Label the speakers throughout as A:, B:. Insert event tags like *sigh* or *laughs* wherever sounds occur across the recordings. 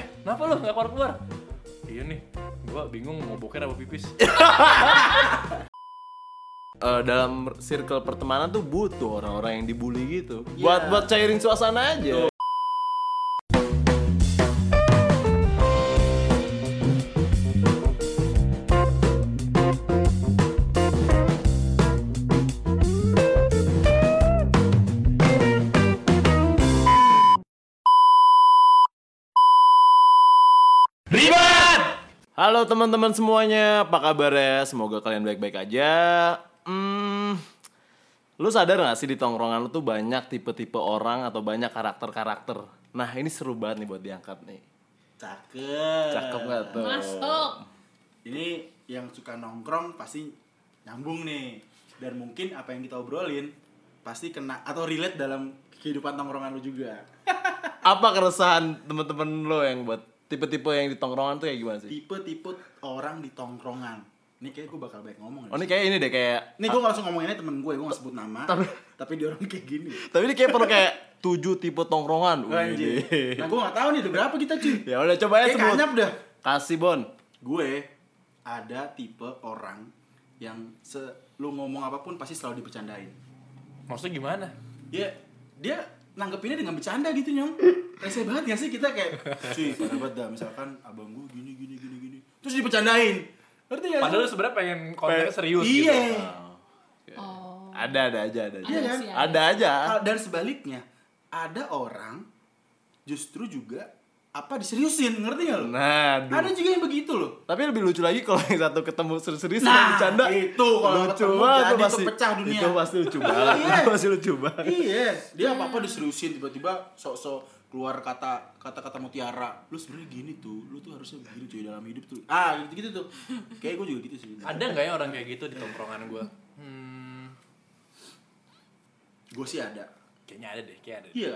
A: kenapa lu nggak keluar keluar iya nih gua bingung mau boker apa pipis
B: Eh, dalam circle pertemanan tuh butuh orang-orang yang dibully gitu.
A: Iya.
B: Buat buat cairin suasana aja. Halo teman-teman semuanya, apa kabar ya? Semoga kalian baik-baik aja. Hmm, lu sadar gak sih di tongkrongan lu tuh banyak tipe-tipe orang atau banyak karakter-karakter? Nah ini seru banget nih buat diangkat nih.
C: Cakep.
B: Cakep gak tuh?
D: Masuk.
C: Ini yang suka nongkrong pasti nyambung nih. Dan mungkin apa yang kita obrolin pasti kena atau relate dalam kehidupan tongkrongan lu juga.
B: Apa keresahan teman-teman lu yang buat tipe-tipe yang di tongkrongan tuh kayak gimana sih?
C: Tipe-tipe orang di tongkrongan. Ini kayak gue bakal banyak ngomong.
B: Oh ini kayak ini deh kayak
C: Ini gue langsung ngomonginnya temen gue, gue gak sebut nama Tapi, dia orang kayak gini
B: Tapi ini kayak perlu kayak tujuh tipe tongkrongan. Wih,
C: Anjir
B: ini.
C: Nah gue gak tau nih, udah berapa kita cuy
B: ya udah coba ya
C: Kayak
B: sebut.
C: kanyap dah
B: Kasih Bon.
C: gue ada tipe orang yang se lu ngomong apapun pasti selalu dibercandain.
A: maksudnya gimana
C: Ya dia nanggepinnya dengan bercanda gitu nyong. Rese banget gak sih kita
A: *laughs*
C: kayak cuy parah banget dah misalkan abang gue gini gini gini gini terus dibercandain. Ngerti gak? sih?
A: padahal lu sebenarnya pengen kontennya serius
C: iya.
A: gitu
D: Oh.
B: Ada ada aja ada. aja.
C: Iya kan?
D: sih,
B: Ada aja.
A: Ah.
C: Hal- Dan sebaliknya ada orang justru juga apa diseriusin ngerti gak lu?
B: Nah, aduh.
C: Ada juga yang begitu loh.
A: *laughs*
B: Tapi lebih lucu lagi kalau yang satu ketemu serius-serius
C: Nah,
B: nah, bercanda.
C: itu kalau
B: lucu
C: ketemu
B: banget
C: jadi
B: tuh
C: tuh
B: pasti.
C: pecah dunia.
B: Itu pasti lucu banget.
C: Iya.
B: Itu pasti lucu banget.
C: iya dia apa apa diseriusin tiba-tiba sok-sok keluar kata kata-kata mutiara lu sebenarnya gini tuh lu tuh harusnya begini cuy dalam hidup tuh ah gitu gitu tuh kayak gue juga gitu sih
A: ada nggak ya orang kayak gitu di tongkrongan gua hmm,
C: gue sih ada
A: kayaknya ada deh kayak ada deh.
C: iya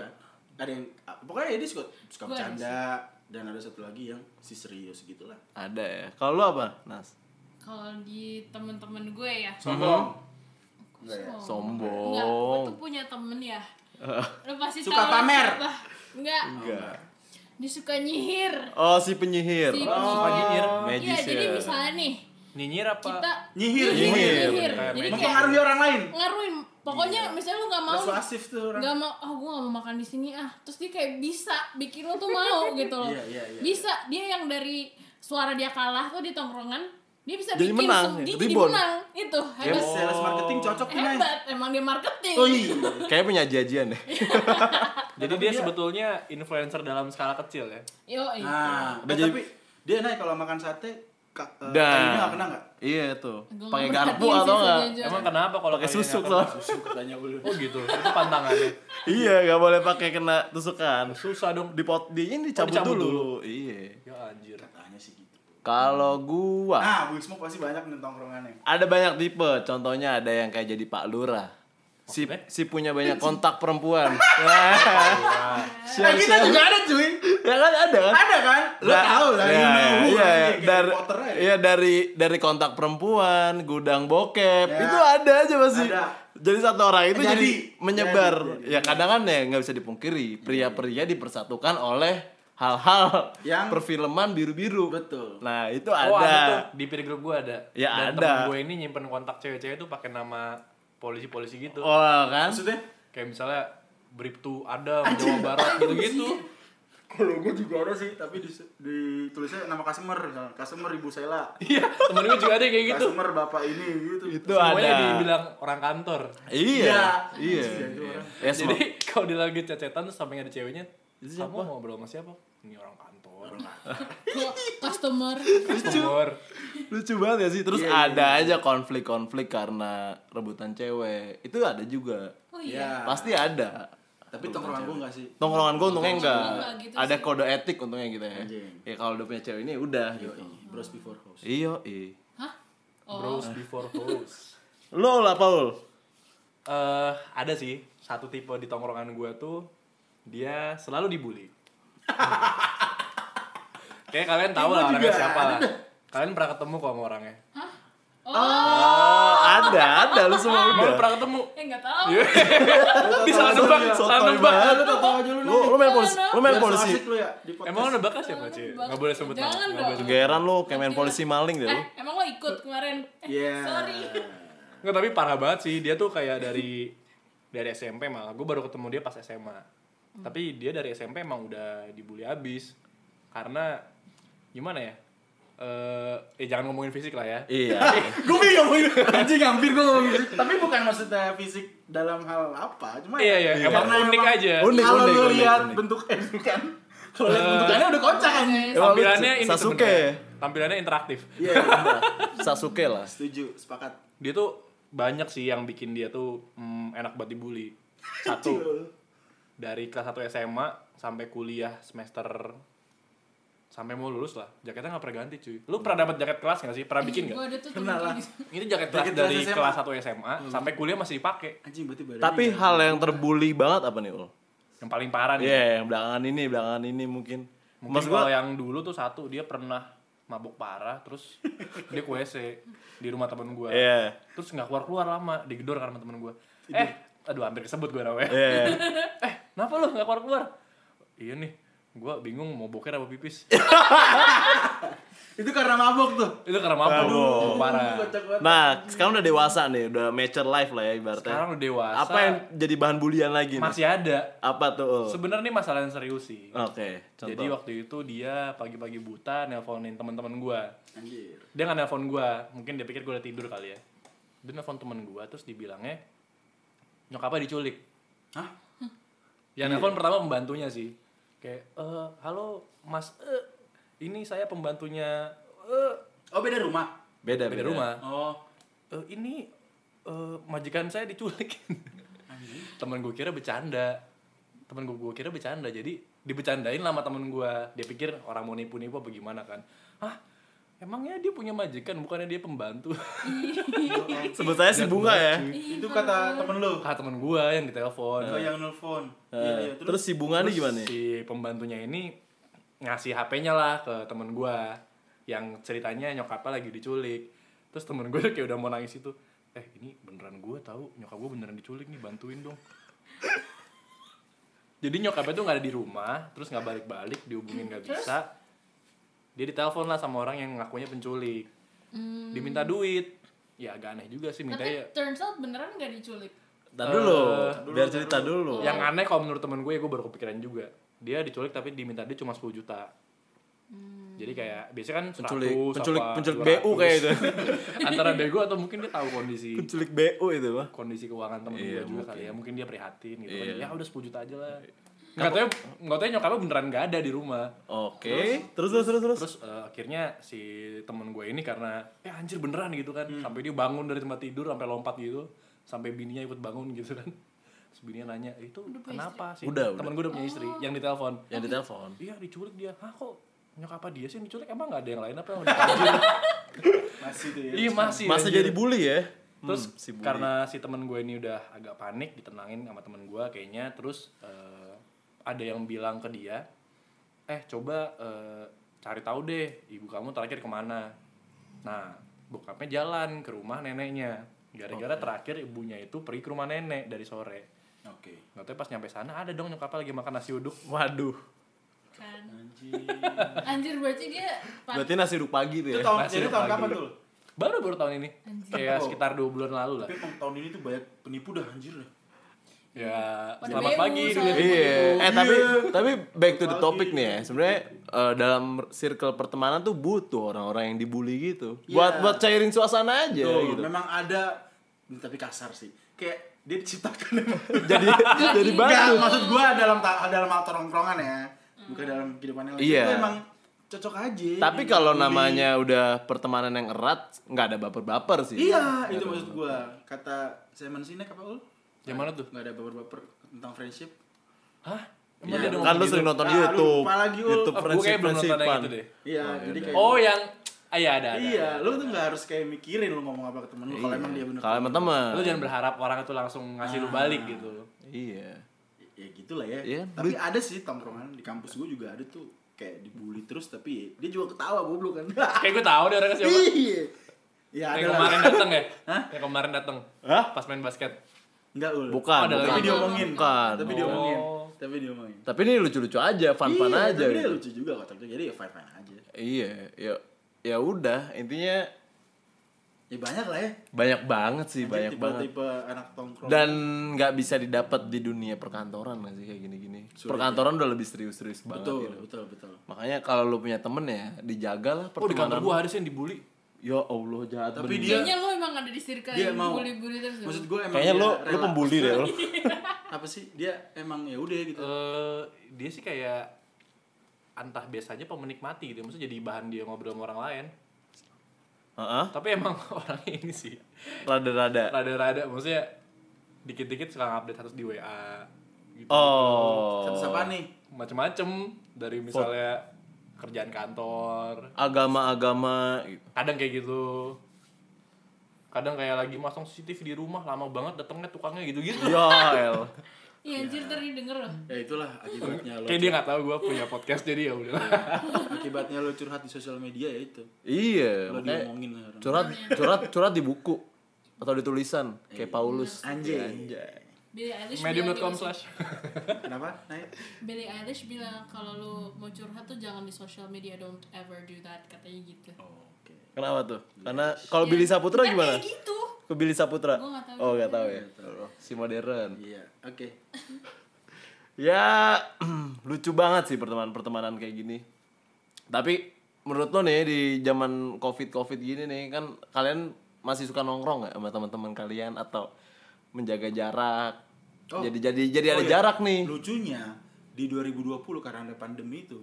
C: ada yang pokoknya dia suka suka
D: Gua ada
C: bercanda dan ada satu lagi yang si serius gitu lah
B: Ada ya. Kalau lu apa? Nas.
D: Kalau di temen-temen gue ya.
C: sombong Enggak ya?
B: Sombong.
D: Enggak, gue tuh punya temen ya.
C: *laughs*
D: Lo pasti
C: Suka
D: tahu lah
C: pamer.
D: siapa. Enggak.
B: Enggak.
D: Dia suka nyihir.
B: Oh, si penyihir.
D: Si
C: Oh.
A: suka nyihir
D: Iya,
B: Magician.
D: jadi misalnya nih
A: nyinyir apa
D: kita
C: Nyihir,
D: nyihir.
B: nyihir.
D: nyihir.
A: Kayak
D: Jadi kayak
C: mempengaruhi orang lain Iya.
D: ngaruin. Pokoknya misalnya lu nggak mau
C: persuasif tuh orang
D: nggak mau ah gue gak mau makan di sini ah terus dia kayak bisa bikin lo tuh
C: *laughs*
D: mau gitu loh
C: Iya, iya, iya.
D: bisa dia yang dari suara dia kalah tuh di tongkrongan dia bisa
B: Jadi
D: bikin
B: menang,
D: sem- dia
B: ya?
D: jadi
B: Rebound.
D: menang itu
C: Terus
D: hebat
C: Iya, sales marketing cocok tuh Nay.
D: hebat emang dia marketing
C: oh iya
B: Kayak punya jajian deh.
C: Eh,
A: jadi
C: Tapi
A: dia
C: dia-
A: sebetulnya influencer dalam skala kecil ya
D: yo iya.
C: nah
B: Udah
C: eh,
B: jadi-
C: tapi dia naik kalau makan sate kak, eh,
B: Dah.
C: kayaknya gak kena gak?
B: Iya tuh.
D: Gua
B: Pakai
D: nggak
B: garpu atau
D: perhatiin sih,
B: enggak?
D: sejujurnya.
A: emang kenapa kalau
B: Pakai
A: kalian
B: susuk
A: nggak
B: loh.
A: kenal?
C: susu katanya ulu
A: oh gitu itu pantangannya
B: Iya, nggak boleh pakai kena tusukan.
A: susah dong
B: Dipot di ini
C: Oh,
B: dicabut,
A: dicabut
B: dulu.
A: dulu.
B: Iya.
A: ya anjir
C: katanya sih gitu
B: Kalau gua
C: Nah, Bu Ismo pasti banyak nih tongkrongannya.
B: Ada banyak tipe, contohnya ada yang kayak jadi Pak Lurah. Si,
A: Maksudnya?
B: si punya banyak
A: *laughs*
B: kontak perempuan. Nah,
C: Nah,
B: siap,
C: kita
B: siap.
C: juga ada cuy.
B: Ya kan ada kan?
C: Ada kan? Lo
B: Da-
C: tau lah,
B: ya,
C: you know who
B: iya,
C: kan,
B: iya.
C: kayak
B: Dari,
C: Potter aja.
B: iya, dari dari kontak perempuan, gudang bokep,
C: Ya.
B: itu ada aja masih.
C: Ada. Eh,
B: Jadi satu orang itu
C: Jadi.
B: jadi, menyebar.
C: Jadi, jadi.
B: Ya kadang kan ya nggak bisa dipungkiri, pria-pria dipersatukan oleh hal-hal
C: Yang-
B: perfilman biru-biru.
C: Betul.
B: Nah, itu
A: Oh ada tuh
B: ada.
A: di peer group gue ada.
B: Ya,
A: Dan
B: ada.
A: temen gue ini nyimpen kontak cewek-cewek tuh pakai nama polisi-polisi gitu.
B: Wah, kan?
C: Maksudnya?
A: Kayak misalnya Briptu Adam Jawa Barat gitu-gitu.
C: Kalau gue juga ada sih, tapi di, ditulisnya nama customer, misalnya, customer Ibu Sela,
A: Iya, temen gue juga ada yang kayak gitu.
C: customer Bapak ini gitu.
B: Itu
A: Semuanya
B: ada.
A: dibilang orang kantor.
B: Iya.
C: Iya.
B: Iya.
C: Anjing, itu orang.
B: Ya,
A: Jadi *laughs*
B: semua-
A: kalau dia lagi cecetan terus samping ada ceweknya,
B: Itu
A: kamu
B: siapa?
A: ngobrol sama siapa? Ini orang kantor.
D: Kok customer
A: Customer.
B: lucu banget ya sih. Terus
C: Iya,
B: ada aja konflik-konflik karena rebutan cewek. Itu ada juga.
D: oh iya
B: Pasti ada.
C: Ya, Tapi tongkrongan gue enggak sih.
B: Tongkrongan gue untungnya enggak.
D: enggak gitu
B: ada kode etik untungnya gitu ya.
C: Anjing.
B: Ya kalau udah punya cewek ini udah gitu.
C: Yoi, Bros before house.
B: Iya, iya.
D: hah oh
A: Bros before hoes.
B: Lo lah Paul.
A: Eh, ada sih satu tipe di tongkrongan gue tuh dia selalu dibully. Kayak kalian tahu
C: Ini
A: lah
C: gua
A: orangnya
C: juga
A: siapa
C: ada
A: lah.
C: dah.
A: Kalian pernah ketemu kok sama orangnya?
D: oh
B: Oh, ada, ada lu semua
A: Mau lu
B: udah.
A: pernah ketemu?
D: Ya nggak tahu.
A: Iya. Di salah nebak, salah
B: Sotoy
A: nebak.
B: banget.
C: Lu tau tau aja lu
B: Lu lu main polisi, lu main
C: Biar so
B: polisi.
C: asik lu ya di podcast.
A: Emang lu nebaknya siapa,
D: Jangan
A: Ci?
D: nebak.
A: Gak boleh sebut nama.
D: Jangan
A: nggak boleh
D: dong.
A: sebut-
B: Geran lu kayak main polisi maling deh lu.
D: Eh, emang lo ikut kemarin? Eh,
C: Iya.
D: Sorry.
A: Nggak, tapi parah banget sih. Dia tuh kayak dari dari SMP malah. Gue baru ketemu dia pas SMA. Tapi dia dari SMP emang udah dibully abis. Karena gimana ya? Eh, eh jangan ngomongin fisik lah ya.
B: Iya.
C: Gue kayak ngomongin *laughs* anjing hampir gue ngomongin fisik. Tapi bukan maksudnya fisik dalam hal apa, cuma
A: Iya, iya, emang unik aja.
B: Unik,
C: Kalau
B: unik,
C: lu
B: unik,
C: lihat
B: unik.
C: bentuknya bukan. Kalau lihat bentukannya udah kocak anjing.
B: Emang Oh, lu
A: Tampilannya ini
B: Sasuke.
A: sebenarnya. Tampilannya interaktif.
C: Iya, iya,
B: Sasuke lah.
C: setuju, sepakat.
A: Dia tuh banyak sih yang bikin dia tuh mm, enak buat dibully. Satu, dari kelas 1 SMA sampai kuliah semester sampai mau lulus lah jaketnya nggak pernah ganti cuy lu pernah dapat jaket kelas nggak sih pernah bikin nggak
D: Gue ada tuh temen
C: Kenal lah.
D: kayak gitu.
A: itu jaket kelas
C: Jaket kelas
A: dari
C: SMA.
A: kelas 1 SMA
B: Hmm.
A: sampai kuliah masih dipakai
C: Anjing berarti badannya.
B: Tapi
A: Iya.
C: gak-
B: hal yang terbully banget apa nih, Ul?
A: yang paling parah nih
B: Iya, yang belakangan ini, belakangan ini mungkin.
A: mungkin
B: Mas
A: kalau
B: gua
A: yang dulu tuh satu dia pernah mabuk parah terus dia ke WC di rumah temen gue
B: Iya.
A: terus nggak keluar keluar lama digedor karena temen gue eh aduh hampir kesebut gue namanya
B: Iya.
A: *laughs* eh kenapa lu nggak keluar keluar iya nih gue bingung mau boker apa pipis
C: itu karena mabok tuh.
A: itu karena mabuk
B: Mabuk.
A: parah
C: Kocak banget.
B: Nah, sekarang udah dewasa nih, udah mature life lah ya ibaratnya.
A: sekarang udah dewasa
B: apa yang jadi bahan bulian lagi nih?
A: masih ada
B: Apa tuh? Ul?
A: sebenarnya ini masalah yang serius sih
B: Oke, contoh.
A: jadi waktu itu dia pagi-pagi buta nelponin teman-teman gua
C: Anjir.
A: dia nggak nelpon gua mungkin dia pikir gua udah tidur kali ya dia nelpon temen gua terus dibilangnya nyokapnya diculik
C: Hah?
A: yang
B: Iya.
A: nelpon pertama pembantunya sih kayak eh halo mas eh, ini saya pembantunya eh
C: Oh, beda rumah.
B: beda,
A: beda rumah
C: Oh.
A: "Eh, ini eh, majikan saya diculik temen gue kira bercanda temen gue gue kira bercanda jadi dibecandain lah sama temen gue dia pikir orang mau nipu-nipu apa gimana kan hah emangnya dia punya majikan bukannya dia pembantu *laughs*
B: Sebut saya si bunga ya.
A: Iya,
C: Itu kata temen lu.
A: kata temen gue yang ditelepon
C: Kau yang nelfon.
B: Eh,
C: Iya, iya.
B: terus, si bunga nih gimana? nih?
A: si pembantunya ini ngasih HP-nya lah ke temen gue yang ceritanya nyokapnya lagi diculik terus temen gue *laughs* kayak udah mau nangis itu eh ini beneran gue tahu nyokap gue beneran diculik nih bantuin dong *laughs* jadi nyokapnya tuh nggak ada di rumah terus nggak balik-balik dihubungin nggak bisa dia ditelepon lah sama orang yang ngakunya penculik diminta duit ya agak aneh juga sih minta
D: Tapi
A: ya
D: turns out beneran gak diculik.
B: Tar dulu,
A: Eh,
B: biar cerita dulu.
A: yang aneh kalau menurut temen gue gue baru kepikiran juga dia diculik tapi diminta dia cuma 10 juta jadi kayak biasanya kan 100
B: penculik,
A: apa
B: penculik, penculik
A: 200.
B: BU kayak itu.
A: *laughs* antara bego atau mungkin dia tahu kondisi
B: penculik BU itu mah.
A: kondisi keuangan temen gue juga
B: Iya, mungkin.
A: kali ya mungkin dia prihatin gitu
B: Iya.
A: kan ya udah 10 juta aja lah nggak tahu nggak tahu nyokapnya beneran nggak ada di rumah
B: Oke, terus terus terus terus.
A: terus eh, akhirnya si temen gue ini karena ya anjir beneran gitu kan
B: Hmm.
A: sampai dia bangun dari tempat tidur sampai lompat gitu sampai bininya ikut bangun gitu kan terus bininya nanya "Eh, itu kenapa sih
B: Udah,
A: temen gue udah punya istri yang ditelepon
B: Yang ditelepon.
A: iya diculik dia hah kok nyokap apa dia sih yang diculik emang gak ada yang lain apa yang
B: *laughs*
A: mau diculik?"
C: masih tuh ya.
A: iya masih
B: Masa
A: anjir.
B: jadi bully ya?
A: terus
B: Hmm, si bully.
A: karena si temen gue ini udah agak panik ditenangin sama temen gue kayaknya terus eh, ada yang bilang ke dia eh coba eh, cari tahu deh ibu kamu terakhir kemana nah bokapnya jalan ke rumah neneknya gara-gara terakhir ibunya itu pergi ke rumah nenek dari sore
C: Oke.
A: nggak tahu pas nyampe sana ada dong nyokapnya lagi makan nasi uduk
B: Waduh,
D: Kan.
C: Anjing.
D: Anjir berarti dia pan-
B: berarti nasi uduk pagi tuh ya?
C: Itu tahun
A: Masih
C: jadi tahun
A: pagi.
C: kapan tuh?
A: baru baru tahun ini
D: Anjing.
A: kayak sekitar dua bulan lalu lah
C: Tapi emang tahun ini tuh banyak penipu dah anjir dah.
A: ya
D: Pada
A: selamat
D: BU
A: pagi
D: soalnya.
A: dunia
B: Iya. Eh tapi tapi back to the
C: Pagi.
B: topic nih ya. Sebenarnya eh, dalam circle pertemanan tuh butuh orang-orang yang dibully gitu. Buat
C: Iya.
B: buat cairin suasana aja
C: Tuh, *laughs*
B: gitu.
C: memang ada tapi kasar sih. Kayak dia diciptakan emang.
B: *laughs* Jadi jadi
C: Enggak,
B: batu.
C: maksud gua dalam ta- dalam hal tongkrongan ya. Bukan dalam kehidupannya. lain.
B: Iya.
C: Itu emang cocok aja.
B: Tapi kalau
C: Jadi- gitu.
B: namanya udah pertemanan yang erat, nggak ada baper-baper sih.
C: Iya, itu maksud gua. Kata Simon Sinek apa ul?
A: yang mana tuh
C: Enggak ada baper-baper tentang friendship.
A: hah
B: Iya,
A: emang dia ada
B: Kan
A: ngomong
B: lu
A: gitu?
B: sering nonton
C: Ah, lu
B: YouTube.
C: lupa lagi, Ul.
B: YouTube
A: Oh, gua
B: friendship
A: kayak belum nonton yang
B: friendship-an.
A: itu deh.
C: Iya,
B: Oh,
C: jadi
B: yaudah.
C: kayak
A: Oh yang ah iya ada. ada.
C: Iya, lu tuh nggak harus kayak mikirin lu ngomong apa ke temen lu kalau emang dia bener.
B: Iya. Kalau emang teman.
A: Lu jangan berharap orang itu langsung ngasih
C: Ah.
A: lu balik gitu.
B: Iya.
C: Ya gitulah ya.
B: Iya.
C: Tapi ada sih tongkrongan di kampus gue juga ada tuh
B: *laughs*
C: kayak dibully terus tapi dia juga ketawa goblok kan.
A: Kayak gue tahu deh orang siapa.
C: Iya. Ya, ada
A: yang
C: lah.
A: kemarin dateng ya?
C: *laughs* Hah?
A: Yang kemarin dateng.
B: Hah?
A: Pas main basket.
C: Enggak, Ul.
B: Bukan,
A: Ada
B: bukan.
C: Tapi
A: lagi.
C: diomongin.
B: Bukan.
C: Tapi diomongin.
A: Oh.
C: Tapi diomongin.
B: Tapi ini lucu-lucu aja, fun-fun
C: Iya,
B: aja.
C: Tapi dia
B: gitu.
C: lucu juga kok. tapi Jadi ya fine-fine aja.
B: Iya, ya ya udah intinya
C: Ya banyak lah ya.
B: banyak banget sih, Iya, banyak banget.
C: Tipe-tipe anak tongkrong.
B: Dan nggak bisa didapat di dunia perkantoran nggak sih kayak gini-gini. Perkantoran udah lebih serius-serius banget.
C: ya. betul,
B: gitu.
C: betul, betul.
B: Makanya kalau lu punya temen ya, dijagalah
A: Oh di kantor
B: pertemanan.
A: gua ada sih yang dibully.
B: Ya Allah jahat bener.
C: Tapi dia-
D: Kayaknya lo emang ada di circle
C: Dia
D: yang
C: mau.
D: bully-bully terus
C: Maksud gue emang
B: Kayaknya
C: dia
B: lu lu
C: rela-
B: pembuli deh
C: *laughs*
B: lu.
C: Apa sih? Dia emang ya udah
B: Oh.
C: gitu.
A: eh dia sih kayak entah biasanya pemenikmati gitu. Maksudnya jadi bahan dia ngobrol sama orang lain.
B: Heeh.
A: Tapi emang *laughs* orangnya ini sih
B: Rada-rada.
A: rada-rada maksudnya dikit-dikit suka update harus di WA gitu.
B: Oh.
C: Satu siapa nih?
A: Macem-macem dari misalnya kerjaan kantor,
B: Agama-agama
C: *laughs*
B: gitu.
A: kadang kayak gitu. Kadang kayak lagi masang CCTV di rumah lama banget datangnya tukangnya gitu-gitu.
B: *laughs* Ya el.
D: Iya anjir teri denger loh
C: Ya itulah akibatnya lo.
A: Kayak dia nggak tahu gue punya podcast jadi ya udah.
C: akibatnya lo curhat di sosial media ya itu.
B: Iya.
C: Lo
B: makanya-
C: diomongin lah orang.
B: curhat curhat curhat di buku atau di tulisan kayak
C: Iya.
B: Paulus
C: Anjay.
D: Billie Eilish
A: Medium.com
D: bilang gitu
A: slash.
C: Kenapa? Naik.
D: sih. Billie Eilish bilang kalau lo mau curhat tuh jangan di social media don't ever do that katanya gitu
C: Oke.
B: kenapa tuh
C: Iya.
B: karena kalau
D: Ya,
B: Billy Saputra
D: ya
B: gimana
D: kayak gitu
B: ke Billy Saputra
D: Gua nggak tahu
B: oh nggak tahu ya Oh, si modern
C: Iya, oke.
B: ya *clears throat* lucu banget sih pertemanan pertemanan kayak gini tapi menurut lo nih di zaman covid covid gini nih kan kalian masih suka nongkrong nggak sama teman-teman kalian atau menjaga jarak
C: Oh.
B: jadi jadi jadi ada
C: Oh, iya.
B: jarak nih
C: Lucunya di 2020 karena ada pandemi itu,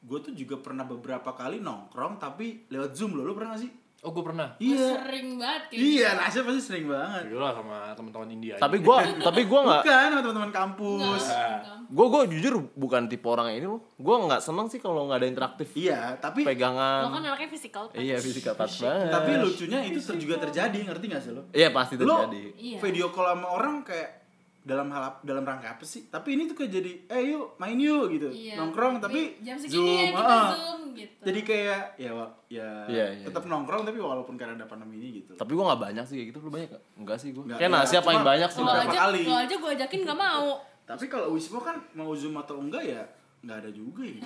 C: gue tuh juga pernah beberapa kali nongkrong tapi lewat zoom lo, lo pernah gak sih?
A: Oh gue pernah.
D: Gua
C: Iya.
D: sering banget kayak gitu.
C: Iya, Nasya pasti sering banget.
A: Gila sama teman-teman India.
B: tapi
C: *laughs*
B: gua tapi gua nggak
C: Bukan sama teman-teman
D: Enggak,
C: kampus.
D: enggak.
B: gue gue jujur bukan tipe orang ini loh gue nggak seneng sih kalau nggak ada interaktif
C: Iya, tapi
A: Ah.
E: Lo
B: pegangan
E: kan anaknya physical touch.
B: iya physical touch banget
C: tapi lucunya itu ter- juga terjadi, ngerti gak sih lo?
B: iya pasti
C: Lo
B: terjadi
D: Iya.
C: video call sama orang kayak dalam hal ap- dalam rangka apa sih? Tapi ini tuh kayak jadi, eh yuk main yuk gitu,
D: Iya.
C: nongkrong tapi
D: jam segini ya
C: zoom,
D: kita
C: ah.
D: zoom gitu
C: Jadi kayak ya wa- ya
B: Iya, iya,
C: tetap nongkrong tapi walaupun karena ada pandemi ini gitu.
B: tapi gue nggak banyak sih kayak gitu lu banyak gak? enggak sih gue
C: Nggak,
B: kayak
C: iya.
B: nasi paling
C: Cuma-
B: banyak sih
D: lo
C: Berapa
D: aja
C: kali?
D: lo aja gue ajakin gak mau
C: Tapi kalau Wismo kan mau zoom atau enggak ya nggak ada juga
D: *laughs*
C: ya.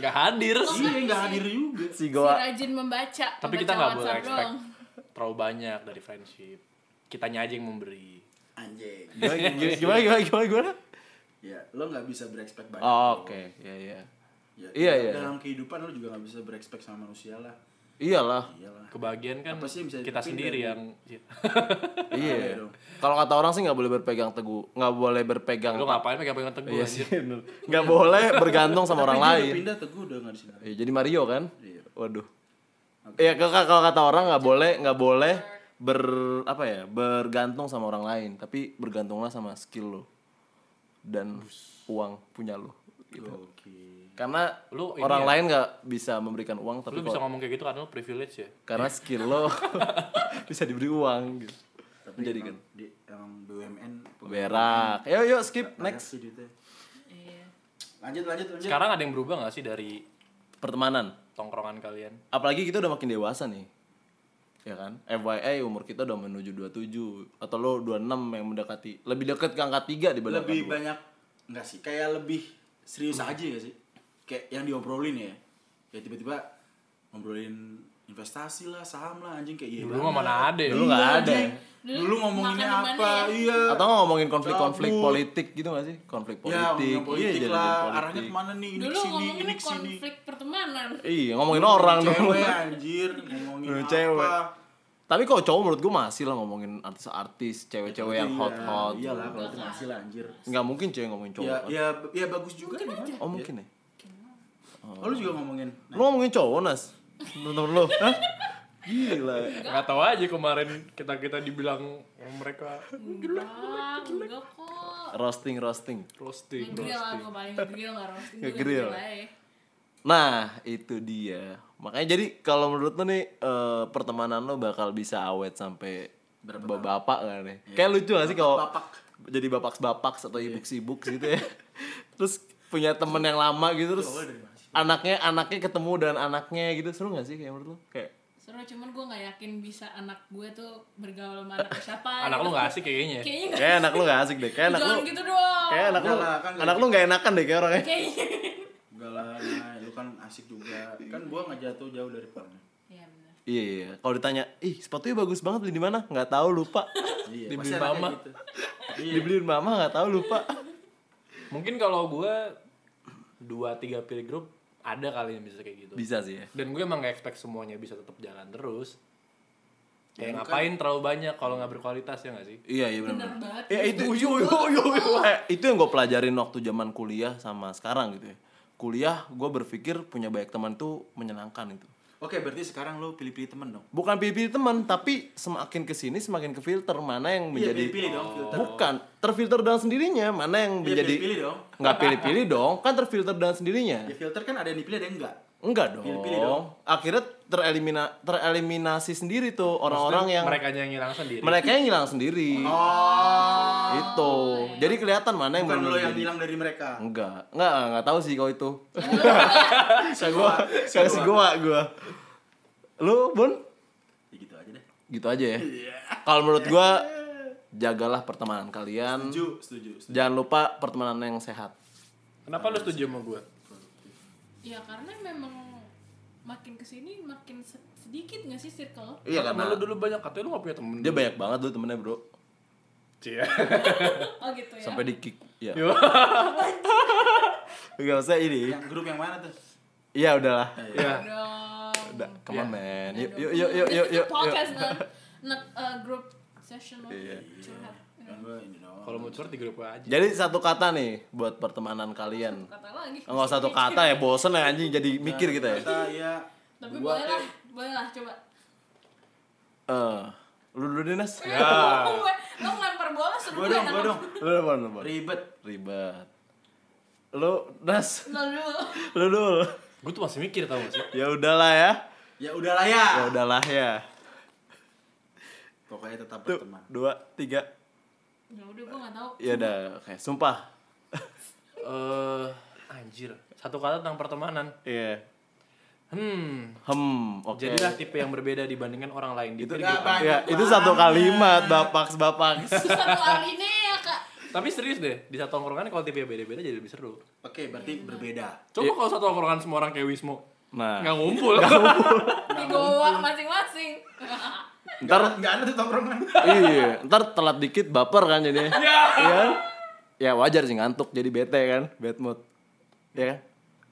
A: nggak hadir.
C: Iya nggak hadir juga.
B: si
D: si
B: gue
D: rajin membaca
A: Tapi
D: membaca
A: kita nggak boleh
D: WhatsApp
A: expect
D: doang.
A: terlalu banyak dari friendship. Kitanya aja yang memberi.
C: Anjing.
B: Iya, gimana gimana gimana gimana
C: *laughs* Ya lo nggak bisa berekspek banyak.
B: Oh, oke iya iya
C: Ya,
B: Iya, iya.
C: Dalam kehidupan lo juga nggak bisa berekspek sama manusia lah.
B: iyalah
C: Iyalah.
A: Kebahagiaan kan
C: Apa sih yang bisa
A: kita
C: ditepin
A: sendiri
C: dari-
A: yang *laughs*
B: iya
C: dong.
B: kalau kata orang sih nggak boleh berpegang teguh nggak boleh berpegang
A: lo ngapain pegang-pegang teguh
B: iya
A: anjir.
B: sih bener. nggak boleh bergantung sama orang
C: Tapi dia udah
B: lain
C: Pindah teguh udah nggak di sini.
B: Ya, jadi Mario kan?
C: Iya.
B: Waduh. Ya kalau kalau kata orang nggak boleh nggak boleh ber apa ya bergantung sama orang lain tapi bergantunglah sama skill lo dan uang punya lo gitu.
C: Oke.
B: Karena
A: Lu ini
B: orang
A: ya.
B: lain nggak bisa memberikan uang tapi
A: Lo bisa
B: kalau-
A: ngomong kayak gitu karena lo privilege ya.
B: karena
C: Iya.
B: skill lo *laughs* bisa diberi uang gitu.
C: Tapi
B: Menjadikan.
C: emang di- emang BUMN
B: Berak. Yuk yuk skip
C: banyak
B: next
C: sih duitnya.
D: Iya.
C: ya. Lanjut lanjut lanjut.
A: Sekarang ada yang berubah nggak sih dari
B: pertemanan.
A: tongkrongan kalian?
B: Apalagi kita udah makin dewasa nih. Ya kan? FYI umur kita udah menuju 27 atau lo 26 yang mendekati. Lebih dekat ke angka 3 dibanding
C: lebih
B: angka
C: banyak enggak sih kayak lebih serius
B: Hmm.
C: aja gak sih kayak yang diobrolin ya ya tiba-tiba ngobrolin investasi lah saham lah anjing kayak iya
A: Dulu mah
C: banget.
A: mana ada ya?
B: Dulu nggak
C: Iya,
B: ada.
C: anjing. dulu ngomonginnya
D: makan di
C: apa
D: mana ya?
C: iya
B: 2. Atau nggak ngomongin konflik-konflik
C: Cabut.
B: politik gitu gak sih? Konflik
C: ya
B: politik. Iya,
C: ngomongin politik
B: jadi
C: lah
B: ngomongin
C: arahnya
B: politik.
C: kemana nih ini
D: dulu
C: kesini ini
D: ngomongin
C: kesini
D: konflik pertemanan
B: Iya, ngomongin orang dong.
C: cewek anjir ngomongin
B: Dulu
C: apa
B: cewek. Tapi kalau cowok menurut gue masih lah ngomongin artis-artis, cewek-cewek yang
C: Iya,
B: hot-hot.
C: iyalah kalau itu masih lah anjir
B: Nggak mungkin cewek ngomongin cowok.
C: ya
B: kan?
C: ya ya bagus juga gimana?
B: Oh mungkin ya.
C: oh, lu juga ngomongin
B: Lo ngomongin cowok, Nas. Temen-temen lo. Hah? Gila.
A: Nggak tahu aja kemarin kita kita dibilang sama mereka
D: enggak enggak kok
B: Roasting-roasting.
A: roasting.
D: Grill lah
A: roasting.
D: gue paling grill nggak roasting Gua
B: Nge-grill.
D: aja ya.
B: Nah, itu dia. Makanya jadi kalau menurut lo nih eh, pertemanan lo bakal bisa awet sampai berapa bapak kan nih.
C: Iya.
B: Kayak lucu gak sih kalau jadi bapak-bapak atau ibuk-sibuk gitu ya. *laughs* Terus punya temen yang lama gitu terus anaknya anaknya ketemu dan anaknya gitu seru gak sih kayak menurut lo? Kayak
D: Seru, cuman gue nggak yakin bisa anak gue tuh bergaul sama anak siapa.
A: anak
D: gitu.
A: lu gak asik ya kayaknya
D: Kayaknya nggak.
B: Kayak anak lu gak asik deh. Kayak anak lu.
D: Jangan gitu dong.
B: Kayak anak lu.
C: Enggak lah, kan
B: Anak lu gak enakan deh kayak orangnya.
D: Kayaknya.
C: Enggak lah, Nay. lu kan asik juga. Kan gua nggak jatuh jauh dari pangnya.
D: Iya benar.
B: Iya, iya. Kalau ditanya, "Ih, sepatunya bagus banget beli di mana?" Nggak tahu lupa.
C: Iya,
A: Dibeli
C: pasti anaknya
A: mama.
C: gitu. *laughs* Iya.
B: Dibeliin mama nggak tahu lupa.
A: mungkin kalau gue dua tiga pilih grup ada kali yang bisa kayak gitu
B: Bisa sih ya.
A: dan gue emang gak expect semuanya bisa tetap jalan terus kayak ngapain terlalu banyak kalau nggak berkualitas ya nggak sih
B: Iya, iya
D: Bener
B: benar.
D: banget.
B: Ya itu yo yo yo yo. Eh, *laughs* itu yang gue pelajarin waktu zaman kuliah sama sekarang gitu ya. Kuliah gue berpikir punya banyak teman tuh menyenangkan itu.
C: Oke, berarti sekarang lu pilih-pilih temen dong.
B: Bukan pilih-pilih teman, tapi semakin kesini semakin ke filter mana yang
C: Iya,
B: menjadi
C: pilih-pilih dong filter.
B: bukan terfilter dengan sendirinya mana yang
C: Iya,
B: menjadi
C: pilih-pilih dong.
B: nggak pilih-pilih dong kan terfilter dengan sendirinya
C: Ya filter kan ada yang dipilih ada yang enggak.
B: enggak dong.
C: Pilih-pilih dong.
B: akhirnya terelimina tereliminasi sendiri tuh orang-orang yang
A: mereka yang ngilang sendiri
B: mereka yang hilang sendiri
C: Oh.
B: itu jadi kelihatan mana yang
C: Bukan
B: bener-bener
C: lo yang
B: jadi.
C: bilang dari mereka.
B: enggak enggak enggak, enggak tahu sih kalau itu
C: Saya gua,
B: saya sih gua gua lu bun
C: Ya gitu aja deh.
B: gitu aja ya kalau menurut gua jagalah pertemanan kalian
C: Setuju, setuju. setuju.
B: jangan lupa pertemanan yang sehat
A: kenapa lu setuju sama gue
D: Ya karena memang makin kesini makin se- sedikit nggak sih circle lo?
B: iya
A: temen
B: karena
A: lu dulu banyak katanya lu gak punya temen
B: dia banyak banget tuh temennya bro
A: Cie.
D: Oh gitu
B: Iya.
D: ya.
B: sampai di kick ya *laughs*
A: Yo.
B: nggak usah ini
C: Yang grup yang mana tuh?
B: iya udahlah
A: ya
D: Dong.
B: udah come on man yuk
D: Dong.
B: yuk yuk yuk yuk
D: This is a
B: yuk
D: Podcast man. Not a group session lo.
B: Iya.
D: Curhat.
C: Yang gua ini dong.
A: kalau mau curhat di grup gue aja
B: jadi satu kata nih buat pertemanan kalian
D: Kata lagi.
B: Enggak satu kata ya bosen ya anjing jadi mikir gitu ya.
C: Kata ya.
D: Tapi
C: gua
D: boleh
C: tuh-
D: lah, boleh lah coba.
B: Eh, lu dulu deh Nas.
D: *laughs*
A: Ya.
D: Gue- Lo ngelempar bola seru
C: Gua dong,
D: *laughs*
C: gua dong.
B: Lu dulu lu dulu.
C: Ribet.
B: Ribet. Lu Nas,
D: Lo dulu.
B: lu dulu.
A: gue tuh masih mikir tau gak sih
B: Ya udahlah ya.
C: Ya udahlah ya.
B: Ya udahlah ya.
C: Pokoknya tetap
B: Tuh,
C: berteman.
B: dua, tiga.
D: Ya udah gue nggak tahu.
B: Ya udah, oke. Sumpah.
A: eh anjir satu kata tentang pertemanan
B: Iya.
A: hmm
B: Hmm, oke.
A: jadilah tipe yang berbeda dibandingkan orang lain di
B: itu
A: grup aja.
C: Nggak banyak
B: ya, itu
C: banget.
B: satu kalimat bapak bapak.
A: *laughs*
D: Satu alinea ya, kak.
A: tapi serius deh di satu tongkrongan kalau tipe yang beda-beda jadi lebih seru
C: Oke, berarti berbeda.
A: coba kalau satu tongkrongan semua orang kayak Wismo
B: Iya. Nah,
A: nggak ngumpul
D: Di goa masing-masing.
B: ntar
C: Enggak ada tuh tongkrongan.
B: iya, ntar telat dikit baper kan jadinya. Iya. kan? Ya wajar sih ngantuk jadi bete kan, bad mood. Ya kan?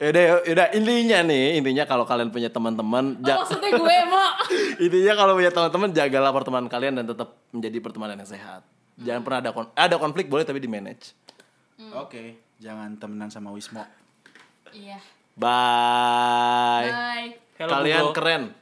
B: Yaudah, yaudah intinya nih, intinya kalau kalian punya teman-teman,
D: Oh,
B: ja-
D: maksudnya gue
B: *laughs*
D: mak.
B: intinya kalau punya teman-teman jagalah pertemanan kalian dan tetap menjadi pertemanan yang sehat. Jangan pernah ada kon- ada konflik boleh tapi di manage.
C: Oke, jangan temenan sama Wismo.
D: Iya.
B: Bye.
D: Bye.
A: Hello,
B: kalian
A: Google.
B: keren.